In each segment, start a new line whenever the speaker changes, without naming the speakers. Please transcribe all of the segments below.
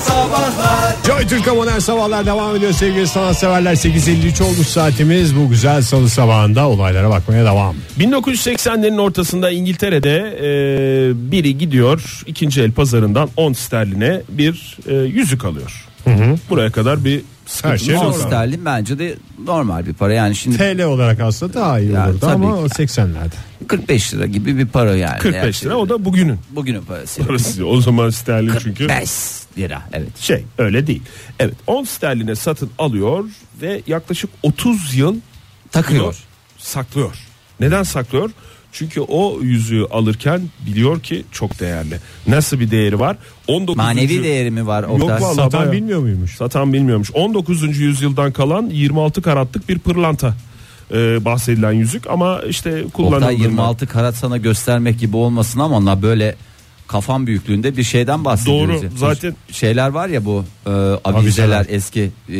Sabahlar
Joy Türk'e modern sabahlar devam ediyor sevgili sanatseverler 8.53 olmuş saatimiz bu güzel salı sabahında olaylara bakmaya devam
1980'lerin ortasında İngiltere'de e, biri gidiyor ikinci el pazarından 10 sterline bir e, yüzük alıyor. Buraya kadar bir
her şey
On
normal.
sterlin bence de normal bir para yani şimdi
TL olarak aslında daha iyi
Ya,
olurdu
tabii
ama
ki.
o 80'lerde
45 lira gibi bir para yani.
şey
45 lira o da bugünün
bugünün parası.
parası. O zaman sterlin çünkü
45 lira evet.
şey öyle değil. Evet 10 sterline satın alıyor ve yaklaşık 30 yıl
Takıyor.
bunu Saklıyor. Neden saklıyor? Çünkü o yüzüğü alırken biliyor ki çok değerli. Nasıl bir değeri var? 19.
Manevi değeri mi var
Yok
Oktay?
vallahi.
Satan
bayağı.
bilmiyor muymuş?
Satan bilmiyormuş. 19. yüzyıldan kalan 26 karatlık bir pırlanta e, bahsedilen yüzük ama işte kullanıldığında
Oktay 26 karat sana göstermek gibi olmasın ama onlar böyle kafam büyüklüğünde bir şeyden bahsediyoruz.
Doğru,
ya.
zaten-
şeyler var ya bu e, avizeler,
Avizeler.
eski e,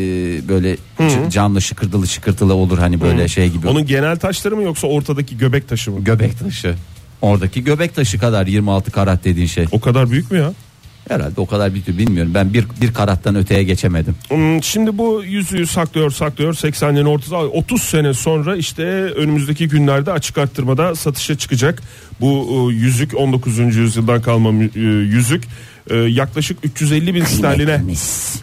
böyle c- camlı şıkırtılı şıkırtılı olur hani böyle şey gibi.
onun genel taşları mı yoksa ortadaki göbek taşı mı?
göbek taşı. Oradaki göbek taşı kadar 26 karat dediğin şey.
O kadar büyük mü ya?
Herhalde o kadar büyük bilmiyorum. Ben bir, bir karattan öteye geçemedim.
Hmm, Şimdi bu yüzüğü saklıyor saklıyor 80'lerin ortasında 30 sene sonra işte önümüzdeki günlerde açık arttırmada satışa çıkacak. Bu e, yüzük 19. yüzyıldan kalma mü- e, yüzük e, yaklaşık 350 bin sterline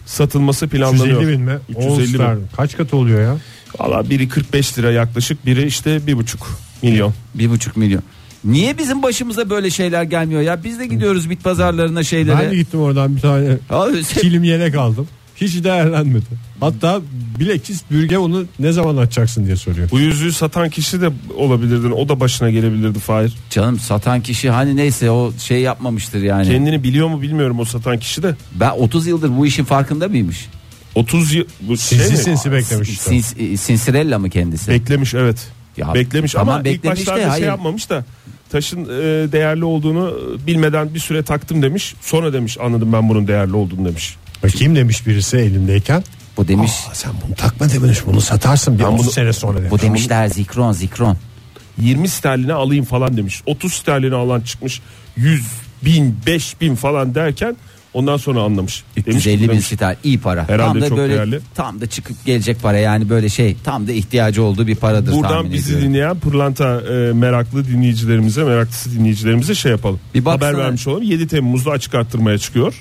satılması planlanıyor.
350 bin mi? 350
350 bin.
Kaç kat oluyor ya?
Valla biri 45 lira yaklaşık biri işte 1,5 milyon.
Bir buçuk milyon. Niye bizim başımıza böyle şeyler gelmiyor ya? Biz de gidiyoruz bit pazarlarına
Ben de
şeylere.
gittim oradan bir tane
Abi sen-
kilim yelek aldım. Hiç değerlenmedi. Hatta bilekçis bürge onu ne zaman atacaksın diye soruyor.
Bu yüzüğü satan kişi de olabilirdin o da başına gelebilirdi Fahir.
Canım satan kişi hani neyse o şey yapmamıştır yani.
Kendini biliyor mu bilmiyorum o satan kişi de.
Ben 30 yıldır bu işin farkında mıymış?
30 yıl bu şey
Sinsi
mi?
sinsi beklemiş işte.
Sins, e, Sinsirella mı kendisi?
Beklemiş evet.
Ya,
beklemiş
tamam,
ama
beklemiş
ilk
de
başlarda
hayır.
şey yapmamış da taşın e, değerli olduğunu bilmeden bir süre taktım demiş. Sonra demiş anladım ben bunun değerli olduğunu demiş.
Bakayım demiş birisi elimdeyken.
Bu demiş.
Aa, sen bunu takma demiş bunu satarsın bir
Ben
30
bunu-
sene sonra
Ah.
demiş.
bu demişler zikron zikron.
20 sterline alayım falan demiş. 30 sterline alan çıkmış. 100 bin 5 bin falan derken ondan sonra anlamış. Demiş ki,
150 bin
demiş,
sitar iyi para.
Herhalde
tam da
çok
böyle
değerli.
tam da çıkıp gelecek para yani böyle şey tam da ihtiyacı olduğu bir paradır
Buradan
tahmin
bizi
ediyorum.
dinleyen pırlanta e, meraklı dinleyicilerimize, meraklısı dinleyicilerimize şey yapalım.
Bir baksana.
Haber vermiş olalım. 7 Temmuz'da açık arttırmaya çıkıyor.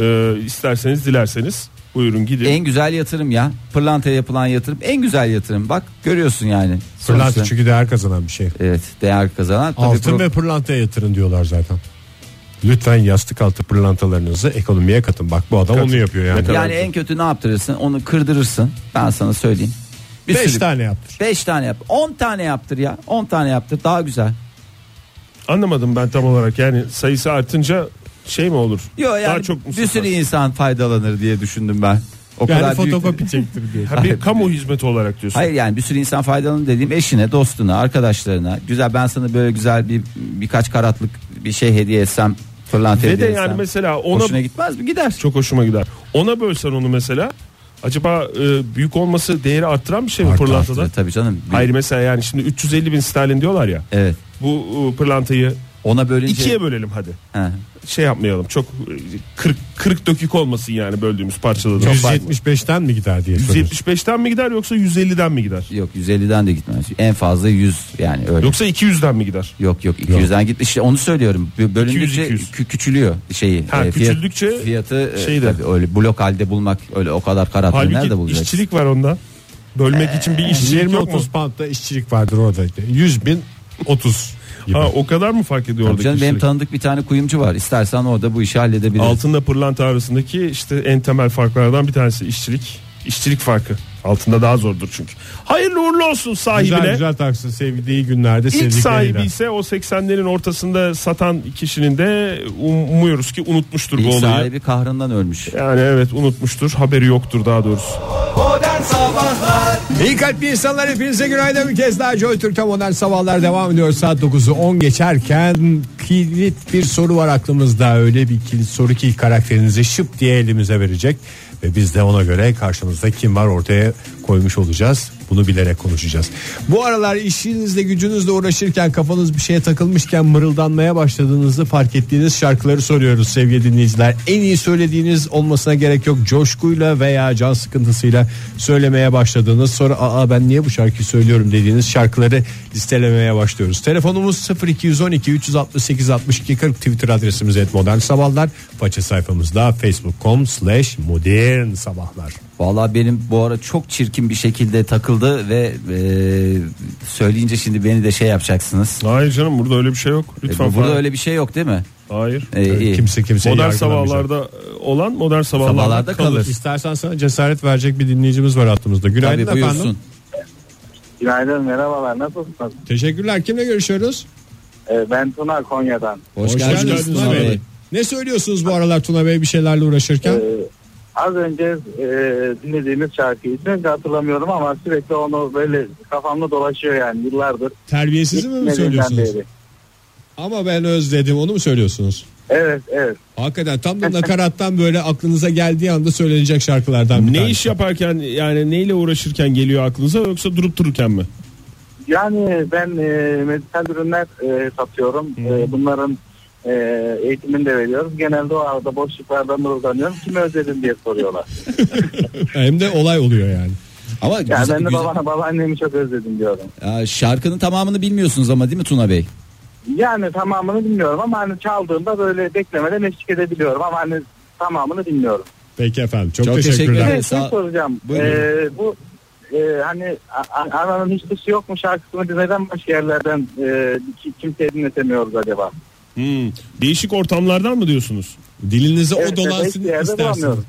E, isterseniz dilerseniz buyurun gidin.
En güzel yatırım ya. Pırlantaya yapılan yatırım en güzel yatırım. Bak görüyorsun yani.
Pırlanta
Sonuçta-
çünkü değer kazanan bir şey.
Evet değer kazanan. Tabii
Altın
pro-
ve pırlantaya yatırın diyorlar zaten. Lütfen yastık altı pırlantalarınızı ekonomiye katın. Bak bu adam
Katın.
onu yapıyor
Ne
yani.
kadar?
Yani en kötü ne yaptırırsın? Onu kırdırırsın. Ben sana söyleyeyim.
5 tane yaptır.
5 tane yap. 10 tane yaptır ya. 10 tane yaptır daha güzel.
Anlamadım ben tam olarak yani sayısı artınca şey mi olur?
Yok yani
Daha çok mu
bir
satar?
sürü insan faydalanır diye düşündüm ben. O
Yani
kadar büyük-
fotokopi çektir diyor.
Ha, bir kamu hizmeti olarak diyorsun.
Hayır yani bir sürü insan faydalanır dediğim eşine, dostuna, arkadaşlarına. Güzel ben sana böyle güzel bir birkaç karatlık bir şey hediye etsem, fırlanta
Ve de
hediye
yani
etsem.
mesela ona
şey Hoşuna gitmez mi? Gider.
çok hoşuma gider. Ona bölsen onu mesela acaba e, büyük olması değeri arttıran bir şey mi
Arttı,
pırlantada?
E, Tabii, tabii canım. Bir-
Hayır mesela yani şimdi 350 bin sterlin diyorlar ya.
Evet.
Bu e, pırlantayı
Ona bölünce
ikiye bölelim hadi.
He.
Şey yapmayalım çok e, kırık, kırık dökük olmasın yani böldüğümüz parçaları.
175'ten mi gider diye soruyor.
175'ten mi gider yoksa 150'den mi gider?
Yok 150'den de gitmez. En fazla 100 yani öyle. Yok
Yoksa 200'den mi gider?
yok, 200'den git. İşte onu söylüyorum. Bö- Bölündükçe
200.
kü- küçülüyor şeyi. E,
Ha,
fiyat-
küçüldükçe
fiyatı e,
şeyde.
tabii öyle blok halde bulmak öyle o kadar karatlı nerede
Halbuki
bulacak?
işçilik var onda. Bölmek için bir işçilik yok mu?
20-30 poundda işçilik vardır orada. 100 bin 30 gibi.
Ha, o kadar mı fark ediyor
Tabii
oradaki
canım, benim
işçilik?
tanıdık bir tane kuyumcu var. İstersen orada bu işi halledebiliriz.
Altında pırlanta arasındaki işte en temel farklardan bir tanesi işçilik. İşçilik farkı. Altında daha zordur çünkü. Hayırlı uğurlu olsun sahibine.
güzel güzel taksın sevgili iyi günlerde
İlk sahibi
sevdikleriyle.
ise o 80'lerin ortasında satan kişinin de um- umuyoruz ki unutmuştur bu
İlk
olayı.
sahibi kahrından ölmüş.
Yani evet unutmuştur. Haberi yoktur daha doğrusu.
Modern Sabahlar
İyi kalpli insanlar hepinize günaydın bir kez daha Joy Türk'te modern sabahlar devam ediyor saat 9'u 10 geçerken kilit bir soru var aklımızda öyle bir kilit soru ki karakterinizi şıp diye elimize verecek ve biz de ona göre karşımızda kim var ortaya koymuş olacağız. Bunu bilerek konuşacağız. Bu aralar işinizle gücünüzle uğraşırken kafanız bir şeye takılmışken mırıldanmaya başladığınızı fark ettiğiniz şarkıları soruyoruz sevgili dinleyiciler. En iyi söylediğiniz olmasına gerek yok. Coşkuyla veya can sıkıntısıyla söylemeye başladığınız sonra aa ben niye bu şarkıyı söylüyorum dediğiniz şarkıları listelemeye başlıyoruz. Telefonumuz 0212 368 62 40 Twitter adresimiz et modern sabahlar. Faça sayfamızda facebook.com slash modern sabahlar.
Vallahi benim bu ara çok çirkin bir şekilde takıldı ve e, söyleyince şimdi beni de şey yapacaksınız.
Hayır canım burada öyle bir şey yok. Lütfen.
E, burada
Fahir.
öyle bir şey yok değil mi?
Hayır.
E, iyi.
Kimse kimseyi
modern
yargılamayacak.
sabahlarda e, olan modern sabahlarda,
Sabahlarda
kalır.
kalır.
İstersen sana cesaret verecek bir dinleyicimiz var hattımızda. Günaydın
Tabii
efendim.
buyursun.
Günaydın merhabalar nasılsınız?
Teşekkürler. Kimle görüşüyoruz?
Ee, ben Tuna Konya'dan.
Hoş, geldiniz, Tuna Bey.
Ne söylüyorsunuz bu aralar Tuna Bey bir şeylerle uğraşırken?
Ee, az önce e, dinlediğimiz şarkıyı ismini de hatırlamıyorum ama sürekli onu böyle kafamda dolaşıyor yani yıllardır.
Terbiyesizi mi, mi
Gitmediğimden
söylüyorsunuz?
beri.
Ama ben özledim onu mu söylüyorsunuz?
Evet evet.
Hakikaten tam da nakarattan böyle aklınıza geldiği anda söylenecek şarkılardan bir
Ne
tanesi.
iş yaparken yani neyle uğraşırken geliyor aklınıza yoksa durup dururken mi?
Yani ben e, medikal ürünler e, satıyorum. E, bunların e, eğitimini de veriyorum. Genelde o arada boşluklarda mırıldanıyorum. Kimi özledin diye soruyorlar.
Hem de olay oluyor yani.
Ama
Yani
güzel-
ben de
güzel-
babana babaannemi çok özledim diyorum.
Ya şarkının tamamını bilmiyorsunuz ama değil mi Tuna Bey?
Yani tamamını bilmiyorum ama hani çaldığımda böyle beklemeden eşlik edebiliyorum ama hani tamamını bilmiyorum.
Peki efendim çok,
Çok
teşekkürler.
teşekkür
Bir
ederim.
de şey
Sağ-
soracağım.
Buyurun.
Ee, bu e, hani a- a- ananın hiç dışı yok mu şarkısını biz neden başka yerlerden e, ki- kimseye dinletemiyoruz acaba?
Hmm. Değişik ortamlardan mı diyorsunuz?
Dilinize
Evet,
o
evet,
dolansın
hiçbir yerde
istersiniz.
bulamıyorum.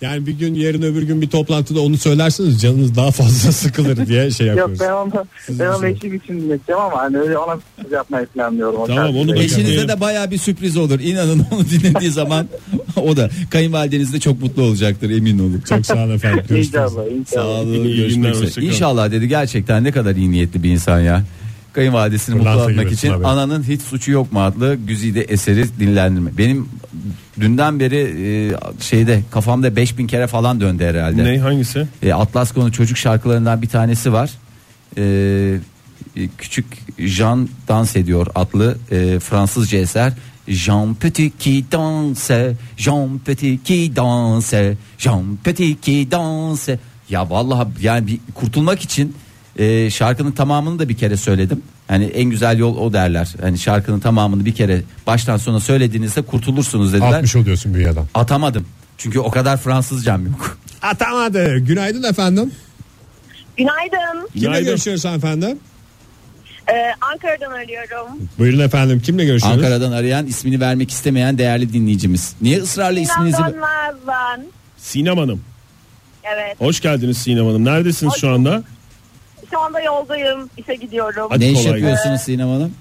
Yani bir gün yarın öbür gün bir toplantıda onu söylersiniz canınız daha fazla sıkılır diye şey
Yok
yapıyoruz.
ben onu ben onu eşim için dinleteceğim ama hani öyle ona sürpriz yapmayı planlıyorum. O
Tamam,
şarkıyı.
onu bırak-
Eşinize
Diyelim.
de baya bir sürpriz olur. İnanın onu dinlediği zaman o da kayınvalideniz de çok mutlu olacaktır emin olun.
Çok sağ olun efendim. Görüşürüz.
İnşallah
Sağ
inşallah.
olun.
İyi günler,
görüşmek üzere.
hoşça kalın.
İnşallah dedi gerçekten ne kadar iyi niyetli bir insan ya. Kayınvalidesini
Fırlanta
mutlu etmek
gibi
için
Tuna Bey.
ananın hiç suçu yok mu adlı güzide eseri dinlendirme. Benim dünden beri e, şeyde kafamda 5000 kere falan döndü herhalde.
Ne hangisi?
E, Atlas konu çocuk şarkılarından bir tanesi var. E, e, küçük Jean dans ediyor adlı e, Fransızca eser. Jean Petit qui danse, Jean Petit qui danse, Jean Petit qui danse. Ya vallahi yani bir kurtulmak için e, şarkının tamamını da bir kere söyledim. Hani en güzel yol o derler. Hani şarkının tamamını bir kere baştan sona söylediğinizde kurtulursunuz dediler.
60 oluyorsun dünyadan.
Atamadım. Çünkü o kadar Fransızcam yok.
Atamadı. Günaydın efendim.
Günaydın.
Kimle
Günaydın.
görüşüyoruz efendim?
Ee, Ankara'dan arıyorum.
Buyurun efendim. Kimle görüşüyoruz?
Ankara'dan arayan ismini vermek istemeyen değerli dinleyicimiz. Niye ısrarla isminizi
İstanbul'dan Nazan.
Sinem Hanım.
Evet.
Hoş geldiniz Sinem Hanım. Neredesiniz şu anda?
Şu anda yoldayım. işe gidiyorum.
Hadi
ne iş
kolay
yapıyorsunuz Sinem Hanım?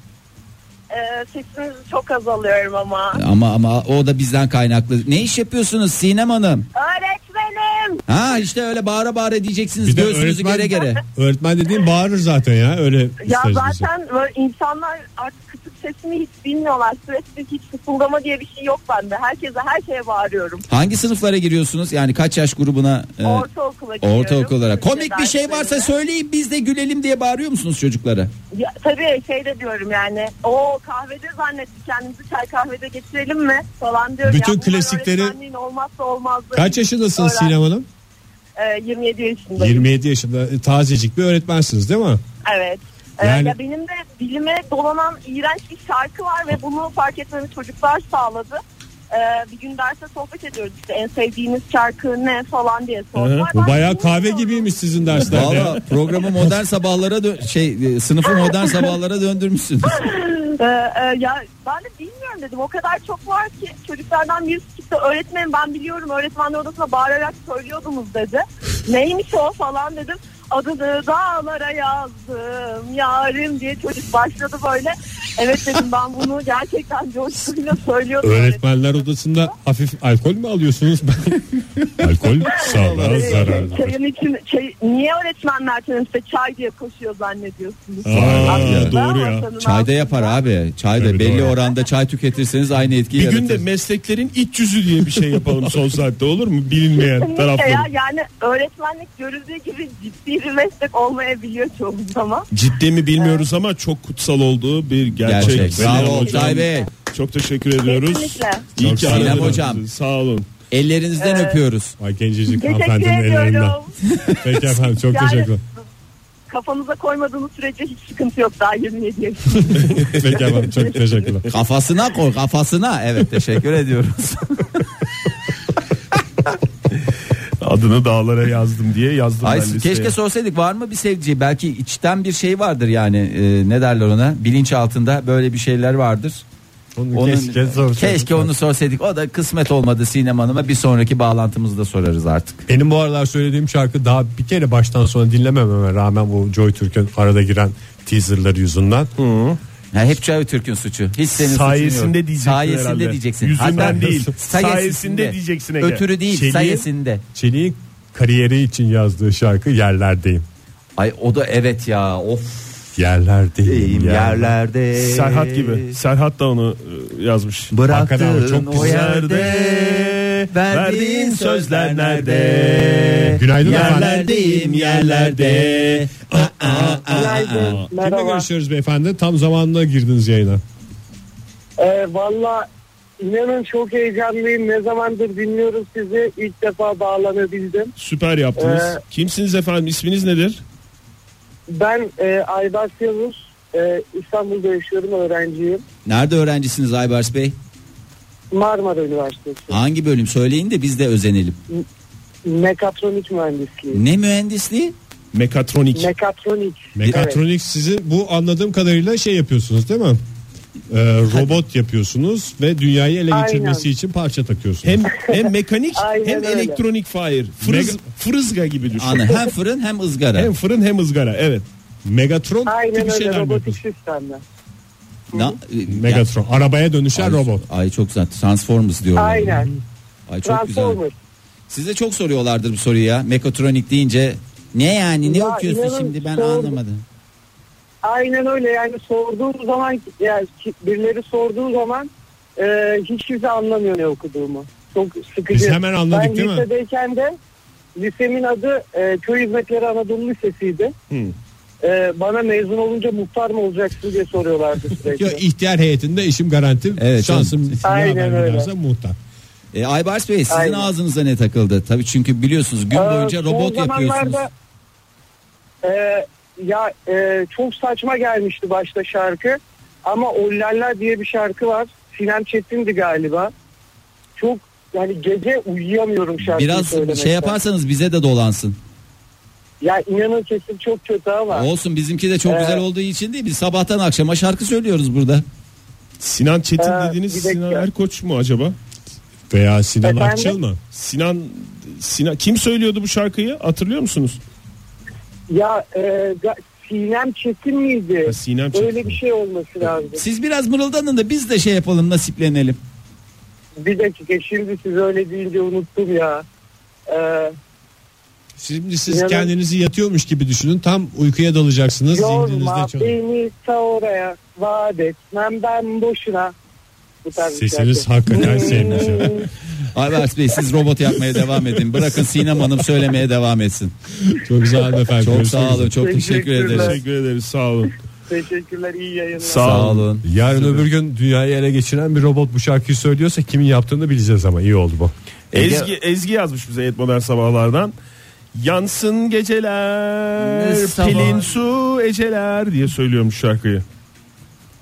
Ee, sesinizi çok az alıyorum ama.
Ama ama o da bizden kaynaklı. Ne iş yapıyorsunuz Sinem Hanım?
Öğretmenim.
Ha işte öyle bağıra bağıra diyeceksiniz
Bir de
göğsünüzü
öğretmen-
gere gere.
Öğretmen dediğin bağırır zaten ya. Öyle
Ya
ister bizi.
zaten böyle insanlar artık kısık sesini hiç bilmiyorlar. Sürekli hiç fısıldama diye bir şey yok bende. Herkese her şeye bağırıyorum.
Hangi sınıflara giriyorsunuz? Yani kaç yaş grubuna? e,
Ortaokula gidiyorum.
ortaokullara.
Türkçe
Komik bir şey varsa
derslerine.
söyleyin biz de gülelim diye bağırıyor musunuz çocuklara?
Ya, tabii şey de diyorum yani. O kahvede zannettik kendimizi çay kahvede geçirelim mi falan diyorum.
Bütün
ya, bunlar
klasikleri-
öğretmenliğin olmazsa olmazları.
Kaç yaşındasın
Öğren-
Sinem Hanım?
Ee, 27 yaşındayım.
27 yaşında e, tazecik bir öğretmensiniz değil mi?
Evet. Ee,
Yani-
ya benim de dilime dolanan iğrenç bir şarkı var ve bunu fark etmemi çocuklar sağladı. Ee, bir gün derste sohbet ediyoruz işte en sevdiğiniz şarkı ne falan diye
Hı hı.
sordular.
Bu
Ben
bayağı
bunu
kahve
bilmiyorum.
gibiymiş sizin derslerde.
Valla programı modern sabahlara dö- şey e, sınıfı modern sabahlara döndürmüşsünüz.
Ee, e, ya ben de bilmiyorum dedim. O kadar çok var ki çocuklardan birisi çıktı. Öğretmenim ben biliyorum öğretmenler odasına bağırarak söylüyordunuz dedi. Neymiş o falan dedim. Adını dağlara yazdım yarim diye çocuk başladı böyle. Evet dedim ben bunu gerçekten coşkuyla söylüyordum.
Öğretmenler odasında hafif alkol mü alıyorsunuz? alkol sağlığa
Ee,
zararlı.
Çayın için, çay, niye öğretmenler teniste çay diye koşuyor zannediyorsunuz?
Aa, doğru ya.
Masanın
Çayda yapar abi. Çayda
Tabii,
belli
doğru.
oranda çay tüketirseniz aynı etkiyi
Bir
yaratır.
gün de mesleklerin iç yüzü diye bir şey yapalım son saatte olur mu? Bilinmeyen
Kesinlikle ya
tarafları.
yani öğretmenlik görüldüğü gibi ciddi bir meslek olmayabiliyor çoğu zaman.
Ciddi mi bilmiyoruz ama çok kutsal olduğu bir gerçek.
Gerçek.
Sinem
Bravo
hocam,
Oktay Bey.
Çok teşekkür ediyoruz.
Kesinlikle.
İyi
Çok
ki
sağ olun.
aradınız.
Sinem hocam.
Sağ olun.
Ellerinizden
Ee,
öpüyoruz.
Ay gencecik hanımefendinin
Teşekkür
ellerinden.
ediyorum.
Peki efendim çok
Yani-
teşekkür
Kafanıza koymadığınız sürece hiç sıkıntı yok daha 27 yaşında.
Peki efendim çok teşekkürler.
Kafasına koy kafasına. Evet teşekkür ediyoruz.
Adını dağlara yazdım diye yazdım
Ay,
ben listeye.
keşke sorsaydık var mı bir sevdici? Belki içten bir şey vardır yani. Ee, ne derler ona? Bilinç altında böyle bir şeyler vardır. Onun-
keşke sorsaydık.
Keşke onu sorsaydık. O da kısmet olmadı Sinem Hanım'a. Bir sonraki bağlantımızda sorarız artık.
Benim bu aralar söylediğim şarkı daha bir kere baştan sona dinlemememe rağmen bu Joy Türk'ün arada giren teaserları yüzünden.
Ha, hep Çay Türk'ün suçu. Hiç senin suçun yok.
Sayesinde diyeceksin
Sayesinde
herhalde.
diyeceksin.
Yüzünden
Hatta-
değil, sayesinde diyeceksin Ege.
Ötürü değil
Şeyi-
sayesinde.
Çelik'in kariyeri için yazdığı şarkı Yerlerdeyim.
Ay o da evet ya. Of.
Yerlerdeyim. Yerler.
yerlerde.
Ee, Serhat gibi. Serhat da onu e, yazmış.
Hakikaten o
Ee, Bıraktığın
çok
o yerde. Verdiğin sözler nerede?
Günaydın
Yerlerdeyim yerlerde.
Günaydın.
Kimle görüşüyoruz beyefendi? Tam zamanında girdiniz yayına.
Ee, Valla inanın çok heyecanlıyım. Ne zamandır dinliyoruz sizi. İlk defa bağlanabildim.
Süper yaptınız.
Ee,
Kimsiniz efendim? İsminiz nedir?
Ben e, Aybars Yavuz. E, İstanbul'da yaşıyorum öğrenciyim.
Nerede öğrencisiniz Aybars Bey?
Marmara Üniversitesi.
Hangi bölüm söyleyin de biz de özenelim.
Mekatronik mühendisliği.
Ne mühendisliği?
Mekatronik.
Mekatronik.
Mekatronik sizi bu anladığım kadarıyla şey yapıyorsunuz değil mi? Ee, robot yapıyorsunuz ve dünyayı ele
Aynen.
geçirmesi için parça takıyorsunuz.
hem hem mekanik
Aynen
hem
öyle.
elektronik fire. Fırız,
Mega-
fırızga gibi düşün.
Ana hem fırın hem ızgara.
Hem fırın hem ızgara. Evet.
Megatron
Aynen
gibi
öyle
şeyler mi
robotik
yapıyorsunuz?
sistemler.
Na- Ya-
Megatron. Arabaya dönüşen
Ay,
robot.
Ay çok güzel. Transformers diyorlar.
Aynen.
Ay çok güzel.
Transformer.
Size çok soruyorlardır bu soruyu ya. Mekatronik deyince ne yani ne
Ya
okuyorsun
inanın
şimdi ben
sordum.
anlamadım.
Aynen öyle yani sorduğum zaman yani ki- birileri sorduğu zaman e, hiç kimse anlamıyor ne okuduğumu. Çok sıkıcı.
Biz hemen anladık
ben
değil mi?
lisedeyken de lisemin adı e, Köy Hizmetleri Anadolu Lisesi'ydi. E, bana mezun olunca muhtar mı olacaksın diye soruyorlardı
Ya
sürekli.
ihtiyar heyetinde işim garanti.
Evet,
Şansım
Aynen
yaver
öyle.
giderse muhtar.
E, Aybars Bey sizin
Aynen.
ağzınıza ne takıldı? Tabii çünkü biliyorsunuz gün
Ee,
boyunca
son
robot yapıyorsunuz.
zamanlarda, e, ya e, çok saçma gelmişti başta şarkı. Ama Ollalla diye bir şarkı var. Sinem Çetin'di galiba. Çok yani gece uyuyamıyorum şarkıyı
Biraz
söylemekten.
şey yaparsanız bize de dolansın.
Ya inanın kesin çok kötü ama.
Olsun bizimki de çok
Ee,
güzel olduğu için değil biz sabahtan akşama şarkı söylüyoruz burada.
Sinan Çetin
Ee,
dediğiniz
bir dakika.
Sinan Erkoç mu acaba?
Veya Sinan
Efendim?
Akçıl mı?
Sinan Sinan kim söylüyordu bu şarkıyı? Hatırlıyor musunuz?
Ya e, ga- Sinem Çetin miydi?
Ha, Sinem Çetin.
Öyle bir şey olması lazım.
Siz biraz mırıldanın da biz de şey yapalım nasiplenelim.
Bir dakika şimdi siz öyle deyince unuttum ya. E,
Şimdi siz
İnanın-
kendinizi yatıyormuş gibi düşünün. Tam uykuya dalacaksınız. Zihninizde
yorma
çalın.
beni ta oraya vaat etmem ben boşuna. Bu tarz bir
Sesiniz
şarkı. Hmm,
hakikaten sevmiş. ya.
Aybars Bey siz robot yapmaya devam edin. Bırakın Sinem Hanım söylemeye devam etsin.
Çok güzel hanımefendi.
Çok
Görüşmek
sağ
üzere.
olun. Çok teşekkür
Teşekkürler.
ederiz.
Teşekkür ederiz. Sağ olun.
Teşekkürler iyi yayınlar.
Sağ olun.
Yarın öbür gün dünyayı ele geçiren bir robot bu şarkıyı söylüyorsa kimin yaptığını bileceğiz ama iyi oldu bu.
Ezgi Ezgi yazmış bize Et Modern Sabahlardan. Yansın geceler,
Ne sabah.
pelin su eceler diye söylüyormuş şarkıyı.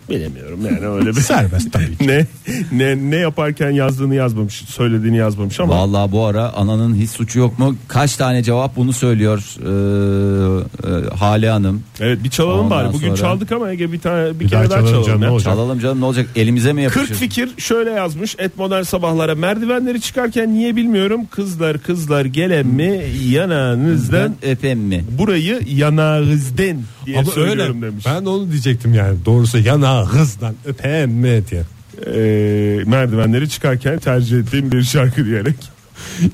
Bilemiyorum yani öyle bir.
Serbest tabii ki.
ne ne ne yaparken yazdığını yazmamış, söylediğini yazmamış ama
Vallahi bu ara ananın hiç suçu yok mu? Kaç tane cevap bunu söylüyor ee, e, Hale Hanım.
evet bir çalalım
Ondan
bari. Bugün
sonra-
çaldık ama Ege bir tane bir,
Bir daha
kere daha çalalım.
çalalım canım,
ya.
ne olacak?
Çalalım canım ne olacak elimize mi
40
yapışır?
fikir şöyle yazmış et modern sabahlara merdivenleri çıkarken niye bilmiyorum kızlar kızlar gelen mi yanağınızdan
Ben öpem mi?
burayı yanağınızdan diye
Ama
söylüyorum
öyle.
demiş.
Ben de onu diyecektim yani. Doğrusu yana hızdan öpem mi diye.
Ee, merdivenleri çıkarken tercih ettiğim bir şarkı diyerek.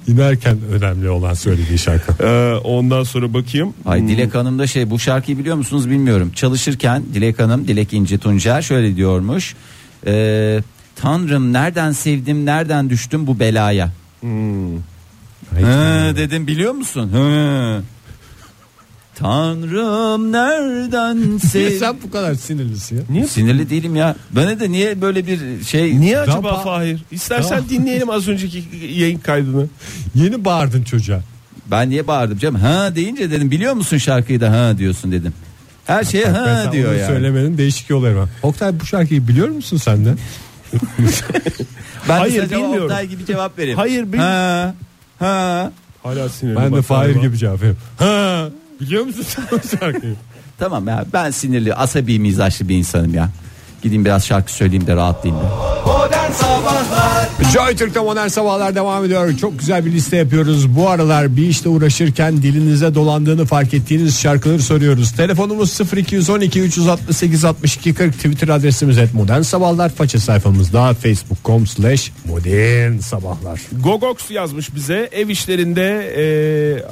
İnerken önemli olan söylediği şarkı.
Ee, ondan sonra bakayım.
Ay Dilek Hanım da şey bu şarkıyı biliyor musunuz bilmiyorum. Çalışırken Dilek Hanım, Dilek İnci Tuncer şöyle diyormuş. Ee, Tanrım nereden sevdim, nereden düştüm bu belaya. Hı, Hmm. dedim biliyor musun? Hı. Tanrım nereden
Niye
sevdim?
sen bu kadar sinirlisin ya?
Sinirli değilim ya. Bana da niye böyle bir şey
Niye acaba
Rampa-
Fahir? İstersen
Tamam.
dinleyelim az önceki yayın kaydını.
Yeni bağırdın çocuğa.
Ben niye bağırdım canım? Ha deyince dedim biliyor musun şarkıyı da ha diyorsun dedim. Her şeye
Ben
ha
sana
diyor
onu
yani.
Söylemenin değişik yolları var. Oktay bu şarkıyı biliyor musun sen de?
Ben
Hayır,
Hayır, de bilmiyorum.
bilmiyorum.
Oktay gibi cevap vereyim.
Hayır, bilmiyorum.
Ha, ha.
Hala sinirli.
Ben de
bak
Fahir
galiba.
gibi cevap veriyorum. Ha, biliyor musun sen bu şarkıyı?
Tamam ya ben sinirli asabi mizaçlı bir insanım ya. Gideyim biraz şarkı söyleyeyim de rahatlayayım da.
Modern Sabahlar
Joy Türk'te modern sabahlar devam ediyor. Çok güzel bir liste yapıyoruz. Bu aralar bir işte uğraşırken dilinize dolandığını fark ettiğiniz şarkıları soruyoruz. Telefonumuz 0212 368 62 40 Twitter adresimiz et modern sabahlar. Faça sayfamızda facebook.com slash modern sabahlar.
Gogox yazmış bize ev işlerinde e,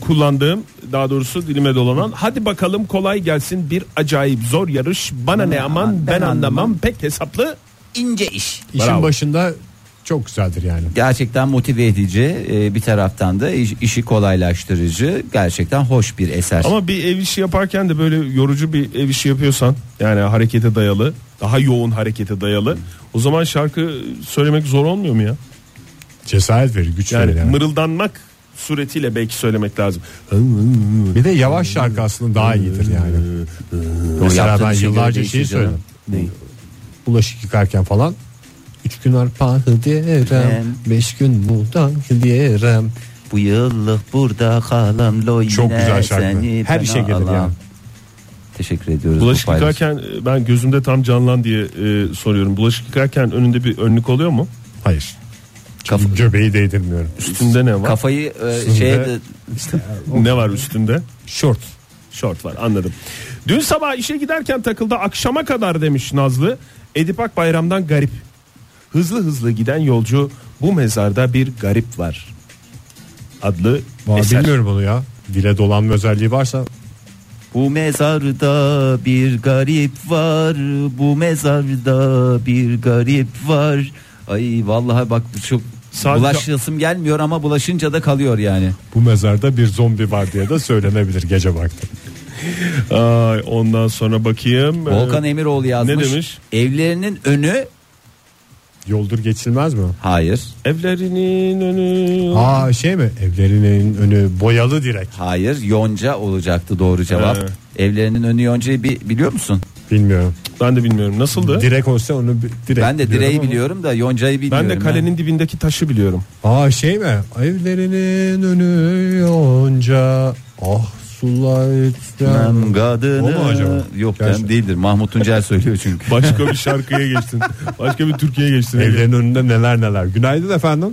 kullandığım daha doğrusu dilime dolanan hadi bakalım kolay gelsin bir acayip zor yarış bana ne aman Hmm, ben anlamam pek hesaplı
İnce iş.
İşin
Bravo.
başında çok güzeldir yani.
Gerçekten motive edici e, bir taraftan da iş- işi kolaylaştırıcı gerçekten hoş bir eser.
ama bir ev işi yaparken de böyle yorucu bir ev işi yapıyorsan yani harekete dayalı daha yoğun harekete dayalı o zaman şarkı söylemek zor olmuyor mu ya
Cesaret verir, güç
yani
verir. Yani.
mırıldanmak suretiyle belki söylemek lazım
Bir de yavaş şarkı aslında daha iyidir yani.
O
Mesela
yaptığın
ben
işe göre
yıllarca
değişir
şeyi
canım.
söyledim.
Neyi?
bulaşık yıkarken falan. Üç gün arpa diyerem, beş gün buğday diyerem.
Bu yıllık burada kalam lo yine
Çok güzel şarkı.
seni
Her
ben
işe gelir
alam.
yani.
Teşekkür ediyoruz. bu
şey bulaşık
paylaş-
yıkarken e, ben gözümde tam canlan diye e, soruyorum bulaşık yıkarken önünde bir önlük oluyor mu
Hayır.
Kafa-
Göbeği değdirmiyorum.
üstünde ne var
Kafayı e, şeye de-
Ne var üstünde?
Şort.
Şort var anladım. Dün sabah işe giderken takıldı akşama kadar demiş Nazlı. Edip Akbayram'dan garip. Hızlı hızlı giden yolcu bu mezarda bir garip var. Adlı
Vallahi
eser.
bilmiyorum onu ya. Dile dolanma özelliği varsa
Bu mezarda bir garip var. Bu mezarda bir garip var. Ay vallahi bak bu çok
Sadece-
bulaşasım gelmiyor ama bulaşınca da kalıyor yani.
bu mezarda bir zombi var diye de söylenebilir gece vakti.
Ay, ondan sonra bakayım.
Volkan
Ee,
Emiroğlu yazmış.
ne demiş?
Evlerinin önü
Yoldur geçilmez mi?
hayır.
Evlerinin önü.
Aa şey mi? Evlerinin önü boyalı direk.
Hayır yonca olacaktı doğru cevap.
Evet.
Evlerinin önü yoncayı bi- biliyor musun?
Bilmiyorum.
Ben de bilmiyorum nasıldı.
Direk olsa onu bi- direkt
ben de direği biliyorum da yoncayı bilmiyorum.
ben de kalenin dibindeki taşı biliyorum.
Aa şey mi? Evlerinin önü yonca. Ah sular
Ben
etmem.
kadını-
O mu acaba?
Yok
Gerçi.
ben değildir. Mahmut Tuncer söylüyor çünkü.
Başka bir şarkıya geçtin. Başka bir Türkiye'ye geçtin.
Evlerin önünde neler neler. Günaydın efendim.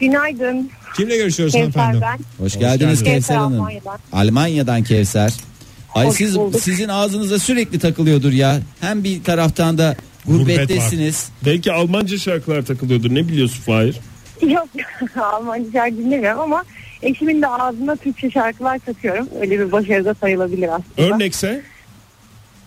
Günaydın.
Kimle görüşüyoruz
Kevser
efendim?
ben.
Hoş geldiniz
geldiniz.
Kevser Hanım.
Almanya'dan.
Almanya'dan Kevser. Ay
Hoş
siz
bulduk.
sizin ağzınıza sürekli takılıyordur ya. Hem bir taraftan da gurbettesiniz.
Belki Almanca şarkılar takılıyordur ne biliyorsun Fahir?
Yok Almanca şarkı dinlemiyorum ama eşimin de ağzına Türkçe şarkılar takıyorum. Öyle bir başarıda sayılabilir aslında.
Örnekse?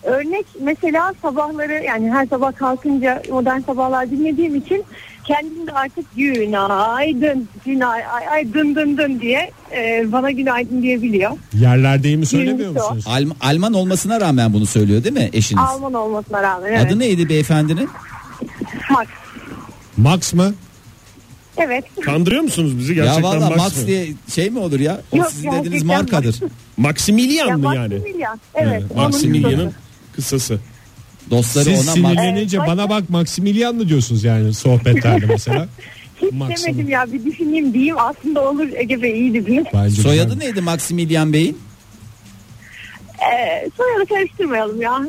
Örnek mesela sabahları yani her sabah kalkınca modern sabahlar dinlediğim için kendim de artık günaydın, günaydın, dın dın dın diye e, bana günaydın diyebiliyor.
Yerlerdeyimi söylemiyor
Birincisi o.
musunuz?
Alm- Alman olmasına rağmen bunu söylüyor değil mi eşiniz?
Alman olmasına rağmen evet.
Adı neydi beyefendinin?
Max.
Max mı?
Evet.
Kandırıyor musunuz bizi
ya
gerçekten
valla Max,
mı?
diye şey mi olur ya? O
Yok,
sizin dediğiniz
gerçekten
markadır.
Maximilian
Ya
mı yani?
Maximilian. Evet. onun
Maximilian'ın
kısası.
kısası.
Dostları
Siz
ona mak-
sinirlenince
Evet,
bana bak Maximilian mı diyorsunuz yani sohbetlerde mesela?
Hiç
Maksimum.
demedim ya bir düşüneyim diyeyim aslında olur Ege Bey iyi dediniz.
Bence
Soyadı
güzel.
neydi Maximilian Bey'in?
Ee, soyadı karıştırmayalım ya.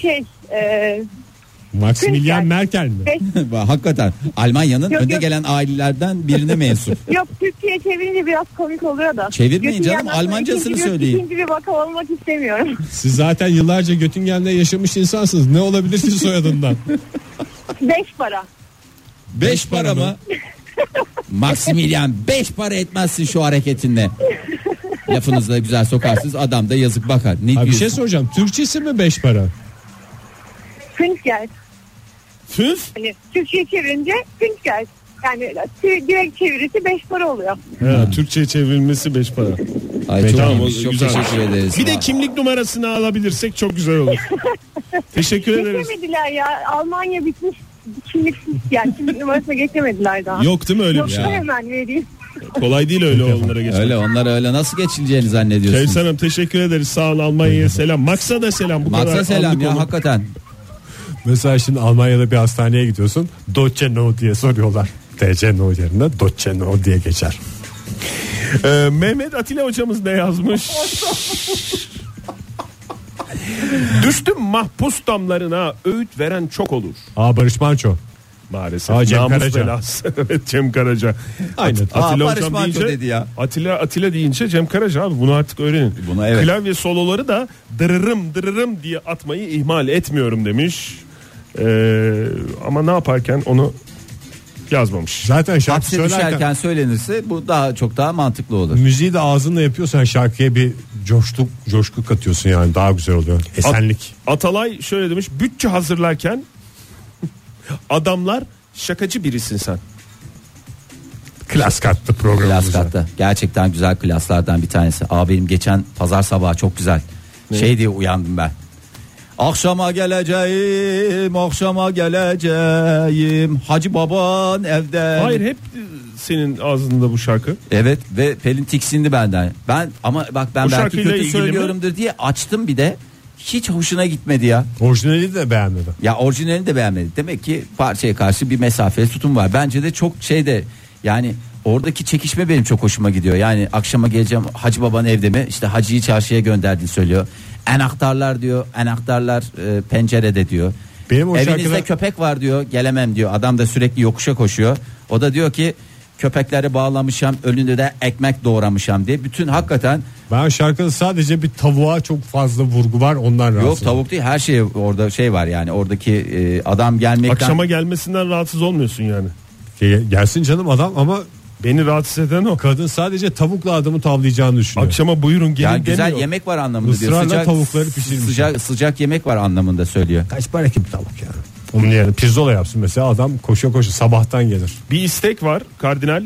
Şey e,
Maximilian
Künkel.
Merkel mi?
Beş-
Hakikaten Almanya'nın
Yok,
önde
yok.
gelen ailelerden birine mensup.
yok Türkçe'ye çevirince biraz komik oluyor da.
Çevirmeyin
Götü
canım,
yandan sonra
Almancasını
ikinci bir-
söyleyin.
İkinci bir vaka olmak istemiyorum.
Siz zaten yıllarca Göttingen'de yaşamış insansınız. Ne olabilir ki soyadından?
Beş para.
Beş para mı? Maximilian beş para etmezsin şu hareketinle. Lafınızı da güzel sokarsınız adam da yazık bakar. Ne
Abi bir şey
diyorsun?
soracağım. Türkçesi mi beş para?
Künstler.
Tüf.
Hani Türkçe'ye çevirince Künstler. Yani tü- direkt çevirisi beş para oluyor.
Hmm.
Ha, Türkçe'ye çevrilmesi 5 para.
Ay, çok
Tamam,
iyiymiş,
o-
çok
güzel.
teşekkür ederiz.
Bir de kimlik numarasını alabilirsek çok güzel olur. Teşekkür ederiz.
Geçemediler ya. Almanya bitmiş. Kimliksiz yani kimlik numarasına geçemediler daha.
Yok değil mi öyle
Yok
bir şey?
hemen vereyim.
Kolay değil öyle onlara geçmek.
Öyle onlar öyle nasıl geçileceğini zannediyorsunuz?
Kevser Hanım teşekkür ederiz. Sağ ol Almanya'ya selam. Maksa da selam. Bu kadar
Maksa selam
anlık
ya
olur.
hakikaten.
Mesela şimdi Almanya'da bir hastaneye gidiyorsun. Deutsche No diye soruyorlar. TC No yerine Deutsche No diye geçer.
Ee, Mehmet Atilla hocamız ne yazmış? Düştüm mahpus damlarına öğüt veren çok olur.
Aa Barış Manço.
Maalesef.
Aa, Cem
Namus
Karaca.
belası. evet Cem Karaca.
Aynen.
At- Atilla
Aa, Barış
hocam
Manço
deyince,
dedi ya.
Atilla, Atilla deyince Cem Karaca abi bunu artık öğrenin.
Buna evet.
Klavye soloları da dırırım dırırım diye atmayı ihmal etmiyorum demiş. Ee, ama ne yaparken onu yazmamış.
Zaten şarkı
Hapse
söylerken
düşerken söylenirse bu daha çok daha mantıklı olur.
müziği de ağzınla yapıyorsan şarkıya bir coştuk coşku katıyorsun yani daha güzel oluyor.
At-
Esenlik.
Atalay şöyle demiş. Bütçe hazırlarken adamlar şakacı birisin sen.
Klas kattı programımıza.
Klas katta. Gerçekten güzel klaslardan bir tanesi. Aa benim geçen pazar sabahı çok güzel. Şey diye uyandım ben. Akşama geleceğim, akşama geleceğim. Hacı baban evde.
Hayır hep e, senin ağzında bu şarkı.
Evet ve Pelin tiksindi benden. Ben ama bak ben
Bu
belki
şarkıyla
kötü
ilgili mi?
söylüyorumdur diye açtım bir de. Hiç hoşuna gitmedi ya.
Orijinali de beğenmedim.
Ya orijinalini de beğenmedi. Demek ki parçaya karşı bir mesafeli tutum var. Bence de çok şeyde yani oradaki çekişme benim çok hoşuma gidiyor. Yani akşama geleceğim Hacı baban evde mi? İşte Hacı'yı çarşıya gönderdin söylüyor. Enaktarlar diyor. Enaktarlar e, pencerede diyor.
Benim o
Evinizde
şarkıda-
köpek var diyor. Gelemem diyor. Adam da sürekli yokuşa koşuyor. O da diyor ki köpekleri bağlamışam önünde de ekmek doğramışam diye. Bütün hakikaten
Ben şarkıda sadece bir tavuğa çok fazla vurgu var ondan rahatsız.
yok tavuk değil her şey orada şey var yani oradaki e, adam gelmekten
Akşama gelmesinden rahatsız olmuyorsun yani.
Ge- Gelsin canım adam ama
Beni rahatsız eden o.
kadın sadece tavukla adamı tavlayacağını düşünüyor.
Akşama buyurun gelin
Ya güzel
demiyor.
yemek var anlamında diyor.
Israrla tavukları pişirmiş.
Sıcak, sıcak yemek var anlamında söylüyor.
Kaç para ki bir tavuk yani? Onun yerine pirzola yapsın mesela adam koşa koşa sabahtan gelir.
Bir istek var. Kardinal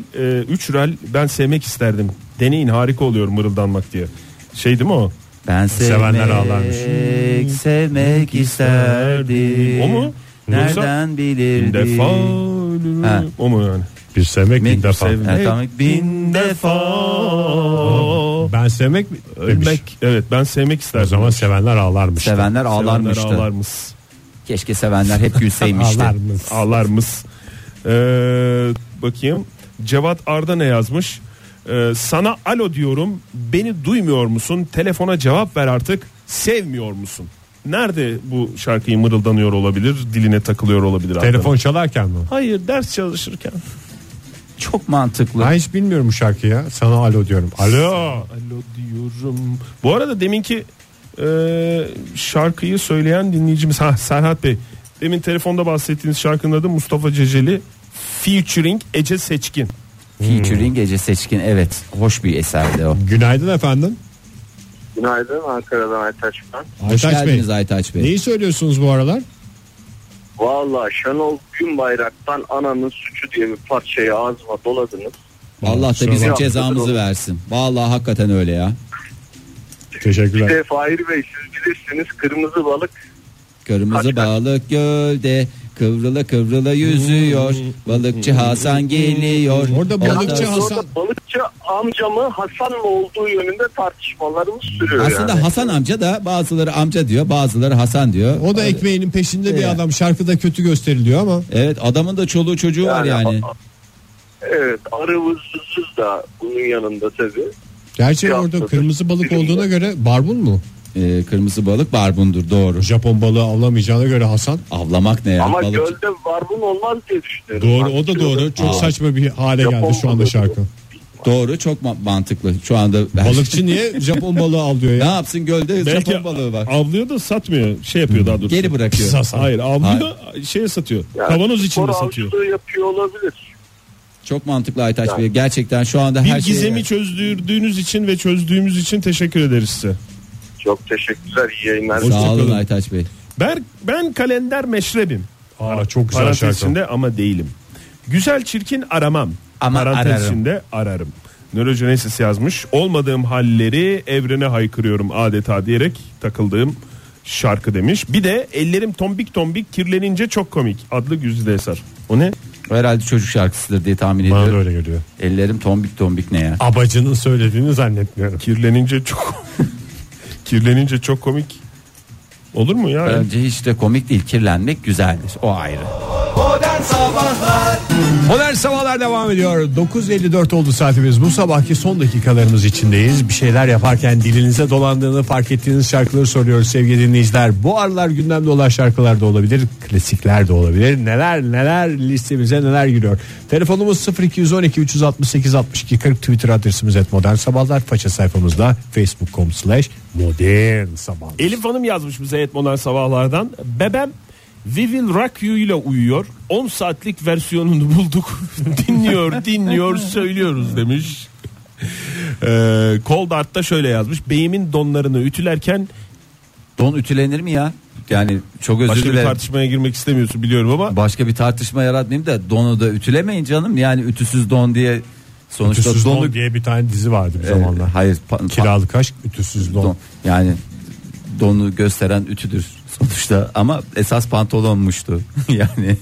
3 rel ben sevmek isterdim. Deneyin harika oluyor mırıldanmak diye. Şey değil mi o?
Ben
Sevenler
sevmek,
ağlarmış.
sevmek isterdim.
O mu? Yoksa-
Nereden bilirdim?
Bin defa
Ha.
o mu yani?
Bir sevmek
Mi-
bin defa.
Sevmek. Evet, tamam. Bin
defa
Ben sevmek mi? demiş.
Ölmek. Evet ben
O
sevmek isterdim.
zaman sevenler ağlarmış.
Sevenler
Sevenler
ağlarmıştı.
ağlarmış.
Keşke sevenler hep gülseymişti.
Ağlarmış.
Ağlarmış. Ee, bakayım. Cevat Arda ne yazmış? Ee, sana alo diyorum. Beni duymuyor musun? Telefona cevap ver artık. Sevmiyor musun? Nerede bu şarkıyı mırıldanıyor olabilir? Diline takılıyor olabilir.
Telefon çalarken mi?
Hayır ders çalışırken.
Çok mantıklı.
Ben hiç bilmiyorum bu şarkıyı ya. Sana alo diyorum. Alo.
Alo diyorum. Bu arada deminki e, şarkıyı söyleyen dinleyicimiz ha, Serhat Bey. Demin telefonda bahsettiğiniz şarkının adı Mustafa Ceceli featuring Ece Seçkin.
Featuring Gece Seçkin evet. Hoş bir eserdi o.
Günaydın efendim.
Günaydın Ankara'dan Aytaç ben.
Hoş
Aytaç Bey.
geldiniz Aytaç Bey.
Neyi söylüyorsunuz bu aralar?
Valla Şenol Günbayrak'tan ananın suçu diye bir parçayı ağzıma doladınız.
Allah da
Kusura
bizim
bakma.
cezamızı versin. Vallahi hakikaten öyle ya.
Bir
Teşekkürler.
de Fahir Bey siz bilirsiniz kırmızı balık
Kırmızı
Hakikaten. Hmm.
balık gölde Kıvrıla kıvrıla yüzüyor. Balıkçı Hasan geliyor.
Orada balıkçı
Orada-
Hasan-
Orada balıkçı amca mı Hasan mı olduğu yönünde tartışmalarımız sürüyor
Aslında
yani.
Hasan amca da bazıları amca diyor, bazıları Hasan diyor.
O da ekmeğinin peşinde
Ee.
Evet.
bir adam. Şarkıda kötü gösteriliyor ama.
Evet, adamın da çoluğu çocuğu var yani.
a- a- Evet arı vızsızız da bunun yanında tabii.
Gerçi
Ya,
orada
tabii.
kırmızı balık olduğuna göre barbun mu?
Ee, kırmızı balık barbundur doğru.
Japon balığı avlamayacağına göre Hasan.
Avlamak ne ya?
Ama
Balık-
gölde barbun olmaz diye düşünüyorum.
Doğru
Bak,
o da
şurada-
doğru. Çok
Aa.
saçma bir hale
Japon
geldi şu anda
balığı.
şarkı.
Doğru, çok ma- mantıklı. Şu anda şey-
Balıkçı niye Japon balığı avlıyor
ne
ya?
yapsın gölde
Belki
Japon balığı var.
avlıyor da satmıyor. Şey yapıyor daha doğrusu.
Geri bırakıyor.
Pis Hasan.
Hayır avlıyor şeye satıyor.
Yani
Kavanoz içinde
spor
satıyor.
avcılığı yapıyor olabilir.
Çok mantıklı Aytaç Bey. Gerçekten şu anda
Bir
her şey.
gizemi çözdürdüğünüz için ve çözdüğümüz için teşekkür ederiz size.
Çok teşekkürler iyi yayınlar.
Sağ olun
Hoşçakalın.
Aytaç Bey.
Ben ben kalender meşrebim.
Aa, çok güzel
Parantez
şarkı.
içinde ama değilim. Güzel çirkin aramam.
Ama
Parantez
ararım.
içinde ararım. Nörogenesis yazmış. Olmadığım halleri evrene haykırıyorum adeta diyerek takıldığım şarkı demiş. Bir de ellerim tombik tombik kirlenince çok komik adlı güzide eser. O ne?
Herhalde çocuk şarkısıdır diye tahmin
Bana da
ediyorum.
öyle geliyor.
Ellerim tombik tombik ne ya?
Abacının söylediğini zannetmiyorum.
Kirlenince çok kirlenince çok komik. Olur mu ya?
Bence hiç de komik değil. Kirlenmek güzeldir. O ayrı.
Modern Sabahlar
Modern Sabahlar devam ediyor. 9.54 oldu saatimiz. Bu sabahki son dakikalarımız içindeyiz. Bir şeyler yaparken dilinize dolandığını fark ettiğiniz şarkıları soruyoruz sevgili dinleyiciler. Bu aralar gündemde olan şarkılar da olabilir, klasikler de olabilir. Neler neler listemize neler giriyor. Telefonumuz 0212 368 62 40 Twitter adresimiz et Modern Sabahlar. Faça sayfamızda facebook.com slash modern sabahlar.
Elif Hanım yazmış bize et modern sabahlardan. Bebem We Will Rock You ile uyuyor. 10 saatlik versiyonunu bulduk. dinliyor, dinliyor, söylüyoruz demiş. Ee, Cold Art da şöyle yazmış. Beyimin donlarını ütülerken
Don ütülenir mi ya? Yani çok özür
başka bir
dilerim.
tartışmaya girmek istemiyorsun biliyorum ama
Başka bir tartışma yaratmayayım da donu da ütülemeyin canım. Yani ütüsüz don diye sonuçta
Ütüsüz
donu
Don diye bir tane dizi vardı bir
Ee,
zamanlar.
hayır, pa- pa-
Kiralık aşk, ütüsüz don.
don. Yani donu gösteren ütüdür sonuçta ama esas pantolonmuştu. yani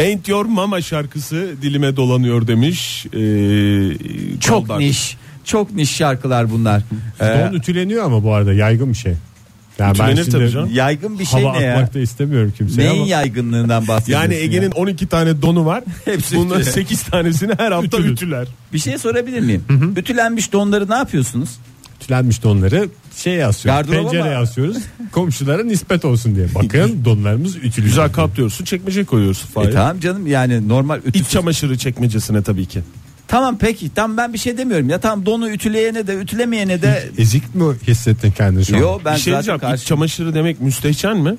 Ain't Your Mama şarkısı dilime dolanıyor demiş. Ee, Cold
çok
Art.
niş. Çok niş şarkılar bunlar. Ee,
Don ütüleniyor ama bu arada yaygın bir şey. Yani ben
Ütülenir
şimdi
tabii canım.
yaygın bir şey
hava
ne ya?
atmak da istemiyorum kimseye
Neyin
ama
yaygınlığından bahsediyorsun?
Yani
ya?
Ege'nin 12 tane donu var.
Hepsi
Bunların
ütülü.
8 tanesini her hafta
Ütülü.
ütüler.
bir şey sorabilir miyim? Ütülenmiş donları ne yapıyorsunuz?
ütülenmiş donları şey asıyoruz.
Gardıroba
Pencereye
mı?
asıyoruz. Komşulara nispet olsun diye. Bakın donlarımız ütülü.
Güzel katlıyorsun, çekmece koyuyorsun.
E,
Fahir.
tamam canım yani normal ütüsüz.
İç çamaşırı çekmecesine tabii ki.
Tamam peki tam ben bir şey demiyorum ya tam donu ütüleyene de ütülemeyene de
Ezik mi hissettin kendini şu an?
Yo ben
bir şey
zaten
diyeceğim.
karşı...
İç çamaşırı demek müstehcen mi?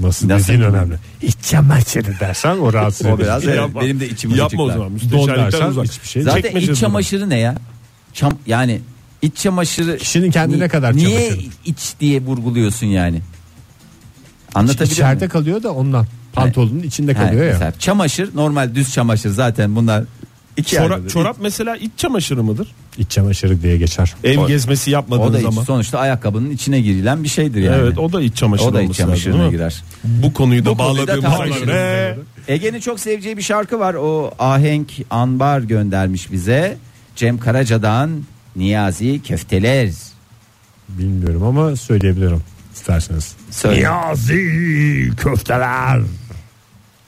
Nasıl,
Nasıl?
dediğin önemli. İç çamaşırı dersen o rahatsız
O
edici.
biraz evet,
Şey Yapma.
benim de içim
Yapma
acıklar.
o zaman.
Don
Müstehcenlikten
dersen
uzak.
hiçbir şey.
Zaten
Çekmece
iç çamaşırı ne ya? Çam yani iç çamaşırı
Kişinin kendine
Ni-
kadar
Niye
çamaşırı.
iç diye vurguluyorsun yani? Anlatabiliyor
İçeride
muyum?
kalıyor da ondan. Pantolonun içinde
Ha,
kalıyor ya.
mesela çamaşır normal düz çamaşır zaten bunlar iki
Çora-
ayrıdır.
çorap mesela iç çamaşırı mıdır?
İç çamaşırı diye geçer.
Ev
O-
gezmesi
o da
yapmadığın
iç,
zaman.
sonuçta ayakkabının içine girilen bir şeydir yani.
Evet o da iç çamaşırı
O da iç
olması lazım,
çamaşırına
değil mi?
girer.
Bu konuyu da
Bu konuyu da
bağladığımız Ee,
tartışırız.
zaman ne?
Ege'nin çok seveceği bir şarkı var. O Ahenk Anbar göndermiş bize. Cem Karaca'dan Niyazi Köfteler.
Bilmiyorum ama söyleyebilirim isterseniz.
Söyle.
Niyazi köfteler.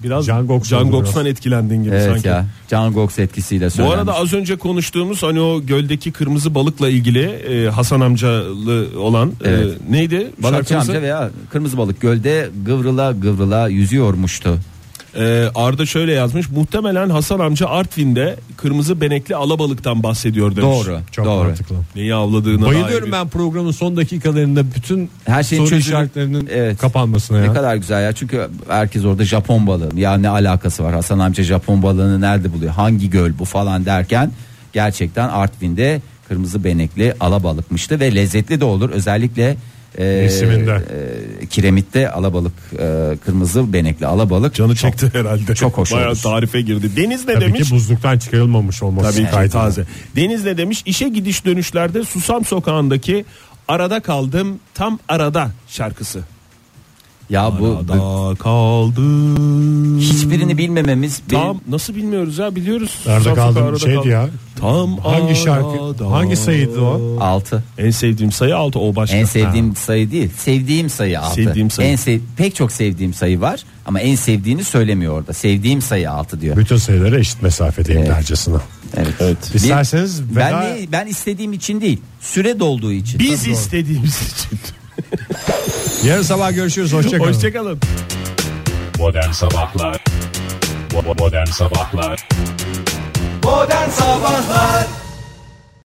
Biraz
Can Goks
Can
oldu
Goks'tan etkilendin gibi
Evet
sanki.
ya. Can Gox etkisiyle
Bu
söylenmiş.
arada az önce konuştuğumuz hani o göldeki kırmızı balıkla ilgili e, Hasan amcalı olan e,
Evet.
neydi?
Balıkçı
şarkımızı?
amca veya kırmızı balık gölde gıvrıla gıvrıla yüzüyormuştu.
Ee, Arda şöyle yazmış. Muhtemelen Hasan amca Artvin'de kırmızı benekli alabalıktan bahsediyor demiş.
Doğru.
Çok
doğru.
mantıklı.
Neyi avladığına dair
Bayılıyorum
bir-
ben programın son dakikalarında bütün
Her şeyin
soru
çözülüp-
işaretlerinin
Evet.
kapanmasına
Ne
ya.
kadar güzel ya çünkü herkes orada Japon balığı ya ne alakası var Hasan amca Japon balığını nerede buluyor hangi göl bu falan derken gerçekten Artvin'de kırmızı benekli alabalıkmıştı ve lezzetli de olur özellikle e,
Mevsiminde.
e, kiremitte alabalık e, kırmızı benekli alabalık
Canı
çok-
çekti herhalde.
çok hoş
Bayağı
olmuş.
tarife girdi. Deniz ne
Tabii
demiş?
ki buzluktan çıkarılmamış olması
Tabii ki
kaydıyla.
taze. Deniz ne demiş? İşe gidiş dönüşlerde Susam Sokağı'ndaki Arada Kaldım Tam Arada şarkısı.
Ya bu
Arada kaldı.
hiçbirini bilmememiz benim-
Tam nasıl bilmiyoruz ya biliyoruz.
Arada
Zafika
kaldım
arada
şeydi
kaldı.
ya.
Tam
Hangi şarkı?
arada.
Hangi sayıydı o?
altı.
En sevdiğim sayı 6 o başka.
En sevdiğim sayı değil. Sevdiğim sayı altı.
Sevdiğim sayı.
En sev- pek çok sevdiğim sayı var ama en sevdiğini söylemiyor orada. Sevdiğim sayı altı diyor.
Bütün sayılara eşit mesafedeyim dercesine.
Evet. Bir-
İsterseniz veda...
Ben ne- ben istediğim için değil. Süre dolduğu için.
Biz istediğimiz için.
Yarın sabah görüşürüz. Hoşçakalın.
Hoşçakalın.
Modern Sabahlar Bo- bo- Modern Sabahlar
Modern Sabahlar